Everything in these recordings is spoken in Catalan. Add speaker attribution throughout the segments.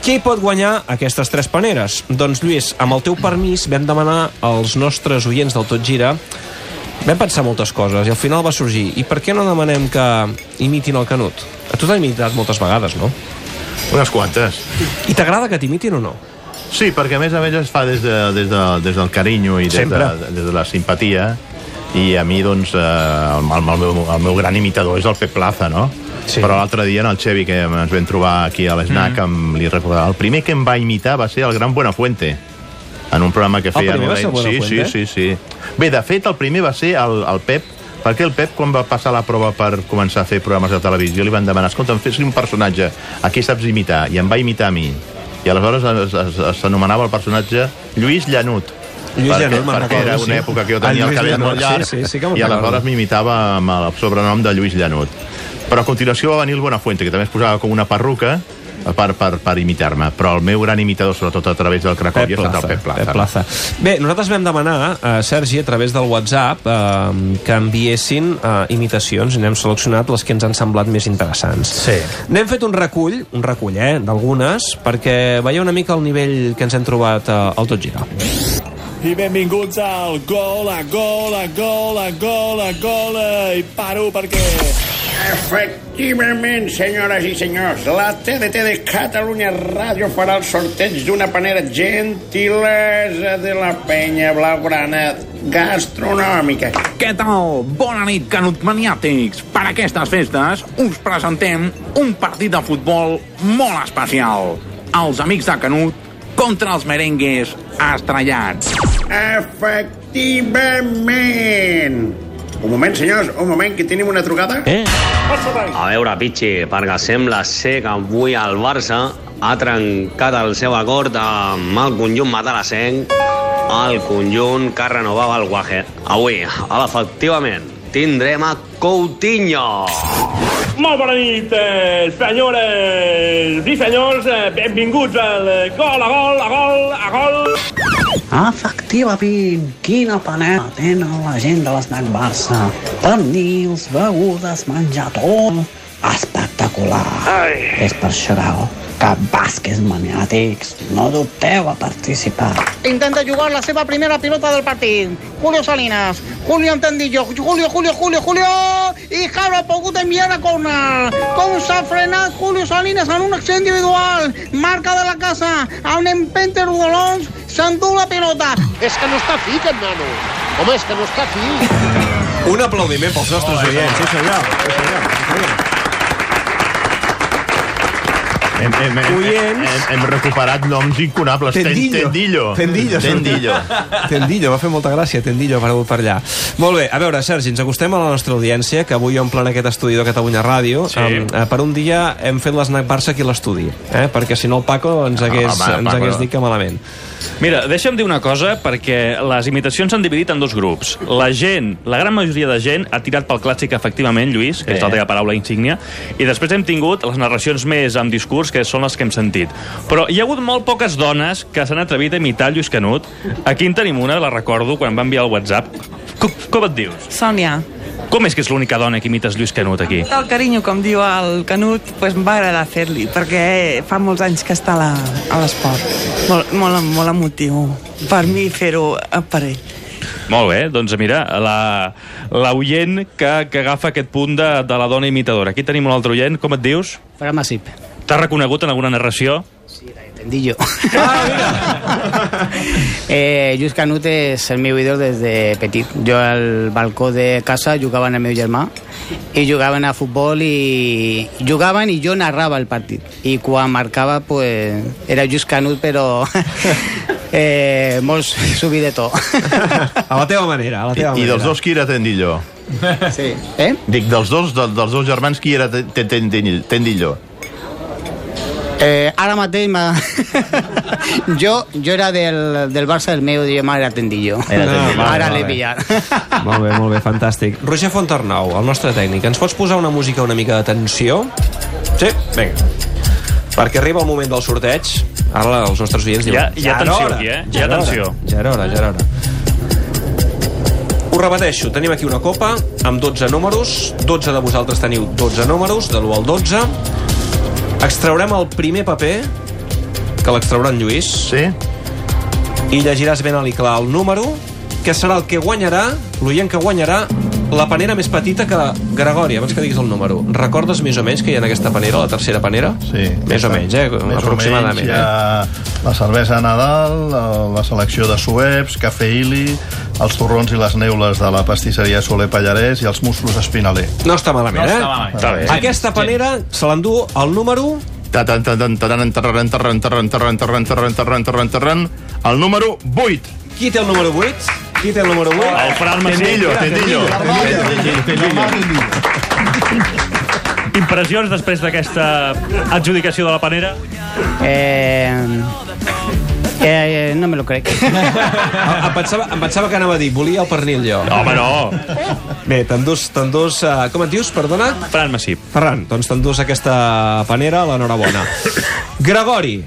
Speaker 1: Qui pot guanyar aquestes tres paneres? Doncs, Lluís, amb el teu permís vam demanar als nostres oients del Tot Gira Vam pensar moltes coses i al final va sorgir i per què no demanem que imitin el Canut? A tu t'han imitat moltes vegades, no?
Speaker 2: Unes quantes.
Speaker 1: I t'agrada que t'imitin o no?
Speaker 2: Sí, perquè a més a més es fa des, de, des, de, des del carinyo i des, de,
Speaker 1: Sempre.
Speaker 2: des de la simpatia i a mi, doncs, eh, el, el, el, meu, el meu gran imitador és el Pep Plaza, no?
Speaker 1: Sí.
Speaker 2: Però l'altre dia en el Xevi que ens vam trobar aquí a l'esnac, mm. li recordava, el primer que em va imitar va ser el gran Buenafuente en un programa que feia...
Speaker 1: primer va ser
Speaker 2: en una- sí, sí,
Speaker 1: Buenafuente?
Speaker 2: sí, sí. Bé, de fet, el primer va ser el, el Pep, perquè el Pep, quan va passar la prova per començar a fer programes de televisió, li van demanar, escolta, fes un personatge, a qui saps imitar? I em va imitar a mi. I aleshores es- es- es- s'anomenava el personatge Lluís Llanut.
Speaker 1: Lluís
Speaker 2: perquè,
Speaker 1: Llanut, me'n
Speaker 2: perquè era
Speaker 1: recordo, sí.
Speaker 2: una època que jo
Speaker 1: El
Speaker 2: tenia el
Speaker 1: Lluís
Speaker 2: cabell
Speaker 1: Llanut,
Speaker 2: molt llarg
Speaker 1: sí, sí, sí que me'n
Speaker 2: i aleshores
Speaker 1: recordo.
Speaker 2: m'imitava amb el sobrenom de Lluís Llanut. Però a continuació va venir el Buenafuente, que també es posava com una perruca per, per, per imitar-me. Però el meu gran imitador, sobretot a través del Cracòvia, ha estat el Pep Plaza.
Speaker 1: Pep Plaza. Bé, nosaltres vam demanar a Sergi a través del WhatsApp eh, que enviessin eh, imitacions i n'hem seleccionat les que ens han semblat més interessants.
Speaker 3: Sí.
Speaker 1: N'hem fet un recull, un recull, eh, d'algunes, perquè veieu una mica el nivell que ens hem trobat eh, al Tot Gira.
Speaker 4: I benvinguts al gol, a gol, a gol, a gol, a gol, eh, i paro perquè...
Speaker 5: Efectivament, senyores i senyors, la TDT de Catalunya Ràdio farà el sorteig d'una panera gentilesa de la penya blaugrana gastronòmica.
Speaker 6: Què tal? Bona nit, canutmaniàtics! Per aquestes festes us presentem un partit de futbol molt especial. Els amics de Canut contra els merengues estrellats.
Speaker 5: Efectivament! Un moment, senyors, un moment, que tenim una trucada.
Speaker 1: Eh?
Speaker 7: A veure, Pichi, perquè sembla ser que avui el Barça ha trencat el seu acord amb el conjunt Matalasenc, el conjunt que renovava el Guaje. Avui, efectivament, tindrem a Coutinho.
Speaker 4: Molt bona nit, eh, senyores i senyors, eh, benvinguts al eh, gol, a gol, a gol, a gol...
Speaker 8: Efectivament, Ah, quina panera tenen la gent de l'esnac Barça. Pernils, begudes, menjar tot. Espectacular. Ai. És per això que, que bàsquets maniàtics, no dubteu a participar.
Speaker 9: Intenta jugar la seva primera pilota del partit. Julio Salinas, Julio Entendillo, Julio, Julio, Julio, Julio... I Jaro ha pogut enviar a corner. Com s'ha frenat Julio Salinas en una acció individual. Marca de la casa. El nen Penter Rodolons s'endú la pilota.
Speaker 10: És que no està fi, aquest nano. Home, és que no està fi.
Speaker 1: Un aplaudiment pels nostres oients. Sí, senyor.
Speaker 2: Hem, hem, hem, hem,
Speaker 1: Oients.
Speaker 2: hem recuperat noms incunables. Ten- Tendillo.
Speaker 3: Tendillo. Tendillo, sobretot.
Speaker 2: Tendillo.
Speaker 1: Tendillo, va fer molta gràcia, Tendillo, per per allà. Molt bé, a veure, Sergi, ens acostem a la nostra audiència, que avui omplen aquest estudi de Catalunya Ràdio. Sí. Um, per un dia hem fet l'esnac Barça aquí a l'estudi, eh? perquè si no el Paco ens hagués,
Speaker 2: Ah, home, el
Speaker 1: ens
Speaker 2: Paco-
Speaker 1: hagués dit que malament.
Speaker 11: Mira, deixa'm dir una cosa, perquè les imitacions s'han dividit en dos grups. La gent, la gran majoria de gent, ha tirat pel clàssic, efectivament, Lluís, que és la teva paraula insígnia, i després hem tingut les narracions més amb discurs, que són les que hem sentit. Però hi ha hagut molt poques dones que s'han atrevit a imitar Lluís Canut. Aquí en tenim una, la recordo, quan em va enviar el WhatsApp. Com, com et dius?
Speaker 9: Sònia,
Speaker 11: Com és que és l'única dona que imites Lluís Canut aquí?
Speaker 9: el carinyo, com diu el Canut, pues em va agradar fer-li, perquè fa molts anys que està a la- a l'esport. Molt, molt, molt emotiu per mi fer-ho eh, per ell.
Speaker 11: Molt bé, doncs mira, la- l'oient que, que agafa aquest punt de, de la dona imitadora. Aquí tenim un altre oient, com et dius?
Speaker 8: Farà massip.
Speaker 11: T'has reconegut en alguna narració?
Speaker 8: Tendillo. eh, Lluís Canut és el meu ídol des de petit. Jo al balcó de casa jugaven amb el meu germà i jugaven a futbol i jugaven i jo narrava el partit. I quan marcava, pues, era Lluís Canut, però eh, molt subidetó.
Speaker 1: A la teva manera, a la
Speaker 2: I,
Speaker 1: teva
Speaker 2: I
Speaker 1: manera.
Speaker 2: dels dos, qui era Tendillo?
Speaker 8: sí. Eh?
Speaker 2: Dic, dels dos, del, dels dos germans, qui era te, te, Tendil- Tendillo?
Speaker 8: Eh, ara mateix m'ha- jo, jo era del, del Barça, el meu germà era Tendillo. Ah,
Speaker 2: Era Tendillo,
Speaker 8: Ara
Speaker 2: molt
Speaker 8: l'he
Speaker 2: bé.
Speaker 8: pillat.
Speaker 1: Molt bé, molt bé, fantàstic. Roger Fontarnau, el nostre tècnic, ens pots posar una música una mica de tensió? Sí? Vinga. Perquè arriba el moment del sorteig. Ara els nostres oients
Speaker 11: Hi
Speaker 1: diuen...
Speaker 11: ha- hi ha
Speaker 1: "Ja era
Speaker 11: tensió
Speaker 1: hora,
Speaker 11: aquí, eh?
Speaker 1: ja
Speaker 11: Hi ha
Speaker 1: era hora,
Speaker 11: tensió."
Speaker 1: Ja era hora, ja era hora. Ho repeteixo, tenim aquí una copa amb 12 números. 12 de vosaltres teniu 12 números, de l'1 al 12. Extraurem el primer paper que l'extraurà en Lluís,
Speaker 2: Sí?
Speaker 1: i llegiràs ben alt i clar el número, que serà el que guanyarà, l'oient que guanyarà, la panera més petita que... Gregori, abans que diguis el número, recordes més o menys que hi ha en aquesta panera, la tercera panera?
Speaker 3: Sí.
Speaker 1: Més o menys, eh?
Speaker 3: Més o
Speaker 1: Aproximadament. eh?
Speaker 3: menys, hi ha la cervesa a Nadal, eh, la selecció de sueps, cafè ili, els torrons i les neules de la pastisseria Soler Pallarès i els musclos espinaler.
Speaker 1: eh? No està malament, eh?
Speaker 11: Està bé.
Speaker 1: Aquesta panera se l'endú el número...
Speaker 2: Taran, taran, taran, taran, taran, taran, taran, taran, taran, taran, taran, taran. El número 8.
Speaker 1: Qui té el número 8? Qui té el número 8?
Speaker 11: El Fran Masell.
Speaker 2: Tendillo, tendillo.
Speaker 11: Impressions després d'aquesta adjudicació de la panera?
Speaker 8: Eh, eh, eh, no me lo crec.
Speaker 1: Ah, em, pensava, em pensava que anava a dir, volia el pernil jo.
Speaker 11: Home, no.
Speaker 1: Bé, t'endús, t'endús... Uh, com et dius, perdona?
Speaker 11: Fran Massip.
Speaker 1: Ferran, doncs t'endús aquesta panera, l'enhorabona. Gregori,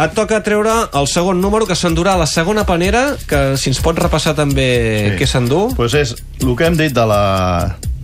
Speaker 1: et toca treure el segon número que s'endurà la segona panera, que si ens pots repassar també sí. què s'endú.
Speaker 3: Doncs és el que hem dit de la,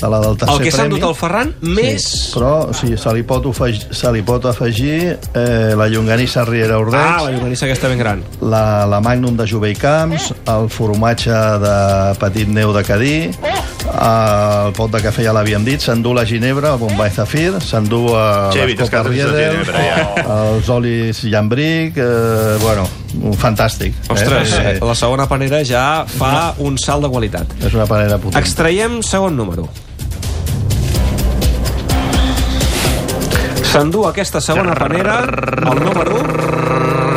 Speaker 3: de la del tercer
Speaker 1: El que s'ha
Speaker 3: premi.
Speaker 1: endut el Ferran, més...
Speaker 3: Però o sigui, se, li pot ofegir, se li pot afegir eh, la llonganissa Riera Ordeig,
Speaker 1: Ah, la llonganissa aquesta ben gran.
Speaker 3: la, la Magnum de Jove i Camps, el formatge de Petit Neu de Cadí,
Speaker 1: Oh!
Speaker 3: el pot de cafè ja l'havíem dit, s'endú la ginebra, el Bombay Zafir, s'endú a
Speaker 2: Xevi,
Speaker 3: les
Speaker 2: t'has quedat
Speaker 3: copes
Speaker 2: sense
Speaker 3: Riedel,
Speaker 2: ginebra,
Speaker 3: els olis Llambric, eh, bueno, un fantàstic.
Speaker 1: Ostres,
Speaker 3: eh?
Speaker 1: eh, la segona panera ja fa un salt de qualitat.
Speaker 3: És una panera potent.
Speaker 1: Extraiem segon número. S'endú aquesta segona panera el número...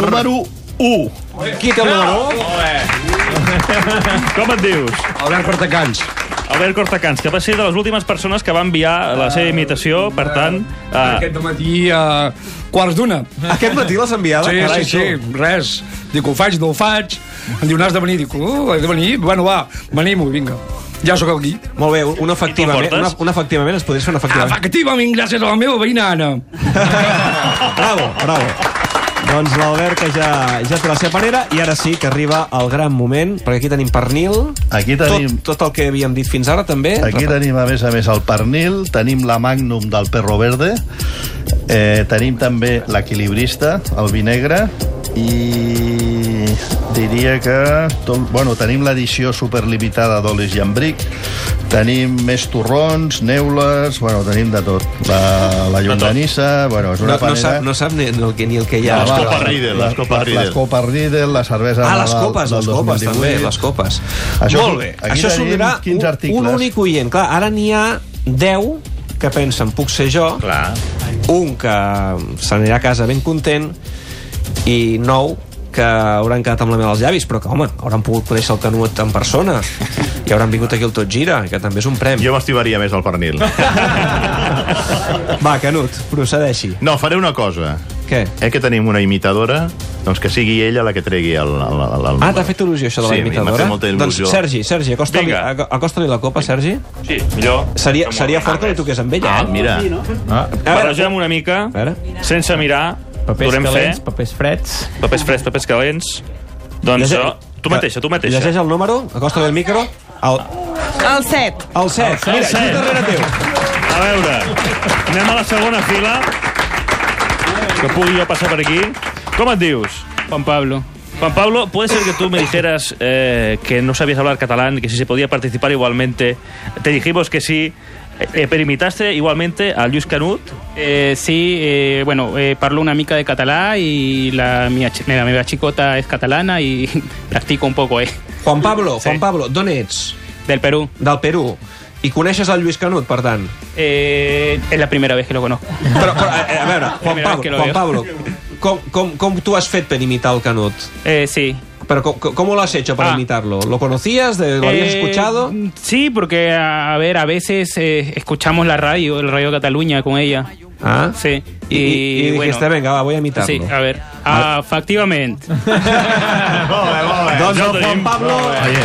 Speaker 3: Número 1.
Speaker 1: Qui té el número? u?
Speaker 11: Com et dius?
Speaker 10: Albert Cortacans.
Speaker 11: Albert Cortacans, que va ser de les últimes persones que va enviar la seva imitació, per tant... Uh,
Speaker 10: Aquest matí a quarts d'una.
Speaker 1: Aquest matí l'has enviada?
Speaker 10: Sí, sí,
Speaker 1: Ah, Carai,
Speaker 10: sí,
Speaker 1: tu.
Speaker 10: res. Dic, ho faig, no ho faig. Em diu, n'has de venir. Dic, uh, he de venir? Bueno, va, m'animo, vinga. Ja sóc aquí.
Speaker 1: Molt bé, un efectivament,
Speaker 11: portes?
Speaker 1: una, un efectivament, es podria fer un efectivament.
Speaker 10: Efectivament, gràcies a la meva veïna Anna.
Speaker 1: Bravo, bravo. Doncs l'Albert que ja, ja té la seva panera i ara sí que arriba el gran moment, perquè aquí tenim pernil,
Speaker 3: Aquí tenim...
Speaker 1: tot, tot el que havíem dit fins ara també.
Speaker 3: Aquí tenim, a més a més, el pernil, tenim la magnum del perro verde, eh, tenim també l'equilibrista, el vi negre, i diria que... Tot, bueno, tenim l'edició superlimitada d'olis i ambric, tenim més torrons, neules, bueno, tenim de tot. La, la llonganissa, bueno, és
Speaker 1: No,
Speaker 3: una
Speaker 1: no,
Speaker 3: panera...
Speaker 1: sap, no sap ni, ni el que, ni el que hi ha.
Speaker 2: Les
Speaker 3: Ah,
Speaker 2: copes
Speaker 3: va,
Speaker 2: Riedel,
Speaker 3: la-
Speaker 2: les copes
Speaker 3: la-
Speaker 2: Riedel.
Speaker 3: Les copes Riedel, la cervesa
Speaker 1: Ah,
Speaker 3: de
Speaker 1: les
Speaker 3: Nadal
Speaker 1: copes,
Speaker 3: del
Speaker 1: les copes,
Speaker 3: 2018.
Speaker 1: també, les copes.
Speaker 3: Això
Speaker 1: Molt
Speaker 3: és-
Speaker 1: bé,
Speaker 3: aquí
Speaker 1: això s'ho
Speaker 3: tenim
Speaker 1: dirà
Speaker 3: 15
Speaker 1: un,
Speaker 3: articles.
Speaker 1: un únic oient. Clar, ara n'hi ha 10 que pensen, puc ser jo,
Speaker 2: Clar.
Speaker 1: un que se n'anirà a casa ben content i nou que hauran quedat amb la mel als llavis, però que, home, hauran pogut conèixer el Canut en persona i hauran vingut aquí al Tot Gira, que també és un premi.
Speaker 2: Jo m'estimaria més el pernil.
Speaker 1: Va, Canut, procedeixi.
Speaker 2: No, faré una cosa.
Speaker 1: Què?
Speaker 2: Eh, que tenim una imitadora, doncs que sigui ella la que tregui el, el, el, el
Speaker 1: Ah, t'ha fet il·lusió, això de la
Speaker 2: Sí, a mi m'ha
Speaker 1: imitadora?
Speaker 2: fet molta
Speaker 1: doncs,
Speaker 2: il·lusió.
Speaker 1: Sergi, Sergi, acosta-li
Speaker 11: Vinga.
Speaker 1: acosta acosta la copa, Sergi.
Speaker 11: sí, millor.
Speaker 1: Seria, seria fort que li toqués amb ella.
Speaker 2: Ah,
Speaker 1: eh?
Speaker 2: mira. Ah,
Speaker 1: A veure,
Speaker 11: Barregem una mica,
Speaker 1: A veure.
Speaker 11: sense mirar, donem fe,
Speaker 8: papers freds.
Speaker 11: papers freds, papers calents... Doncs
Speaker 1: Llegeix-
Speaker 11: jo, tu mateixa, tu mateixa.
Speaker 1: Llegeix el número, acosta del micro. El,
Speaker 12: El 7.
Speaker 1: el 7.
Speaker 11: El
Speaker 1: Mira,
Speaker 11: set.
Speaker 1: just darrere teu.
Speaker 11: A veure, anem a la segona fila, que pugui jo passar per aquí. Com et dius?
Speaker 10: Juan Pablo.
Speaker 11: Juan Pablo, puede ser que tú me dijeras eh, que no sabías hablar catalán, que si se podía participar igualmente. Te dijimos que sí, eh, eh, pero imitaste igualmente a Luis Canut.
Speaker 10: Eh, sí, eh, bueno, eh, parlo una mica de català i la meva, chi- la meva xicota és catalana i practico un poco, eh?
Speaker 1: Juan Pablo, Juan
Speaker 10: Sí.
Speaker 1: Pablo, d'on ets?
Speaker 10: Del Perú.
Speaker 1: Del Perú. I coneixes el Lluís Canut, per tant.
Speaker 10: Eh, es la primera vez que lo conozco.
Speaker 1: Però, però a, a veure, Juan
Speaker 10: Primera vez que lo
Speaker 1: Pablo, Juan
Speaker 10: veo.
Speaker 1: Pablo com, com, com tu has fet per imitar el Canut?
Speaker 10: Eh, sí.
Speaker 1: Però com, com lo has hecho para
Speaker 10: Ah.
Speaker 1: imitarlo? ¿Lo conocías? De, ¿Lo habías
Speaker 10: Eh,
Speaker 1: escuchado?
Speaker 10: Sí, porque a, a ver, a veces eh, escuchamos la radio, el Radio Cataluña con ella.
Speaker 1: Ah.
Speaker 10: Sí.
Speaker 1: Y, y dijiste,
Speaker 10: bueno,
Speaker 1: venga, va, voy a imitarlo.
Speaker 10: Sí, a ver. Ah, efectivamente.
Speaker 1: Doncs
Speaker 11: Ja ho
Speaker 1: el Juan
Speaker 11: tenim.
Speaker 1: Pablo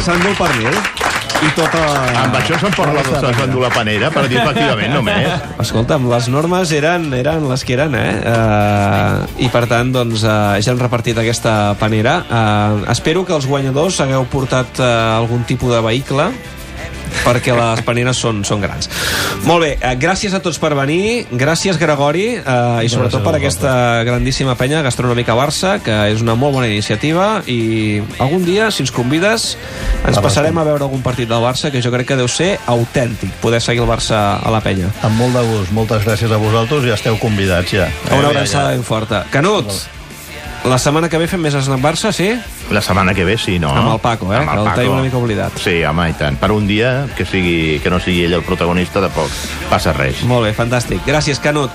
Speaker 1: s'endú per mi. eh? I tota...
Speaker 2: Amb això se'n porta la s'endú la panera, per dir efectivament, només.
Speaker 1: Escolta'm, les normes eren, eren les que eren, eh? Uh, I per tant, doncs, uh, ja hem repartit aquesta Eh, panera. Uh, espero que els guanyadors hagueu portat uh, algun tipus de vehicle. perquè les paneres són, són grans. Molt bé, eh, gràcies a tots per venir, gràcies Gregori, eh, i sobretot per aquesta grandíssima penya gastronòmica Barça, que és una molt bona iniciativa, i algun dia, si ens convides, ens passarem a veure algun partit del Barça, que jo crec que deu ser autèntic poder seguir el Barça a la penya.
Speaker 3: Amb molt de gust. Doncs Moltes gràcies a vosaltres i esteu convidats ja.
Speaker 1: Una abraçada ben forta. Canut, la setmana que ve fem més Snack Barça, sí?
Speaker 2: La setmana que ve, sí, no?
Speaker 1: Amb el Paco, eh?
Speaker 2: Amb
Speaker 1: Que
Speaker 2: el
Speaker 1: el
Speaker 2: Paco.
Speaker 1: tenim una mica oblidat.
Speaker 2: Sí, home, i tant. Per un dia que, sigui, que no sigui ell el protagonista, tampoc passa res.
Speaker 1: Molt bé, fantàstic. Gràcies, Canut.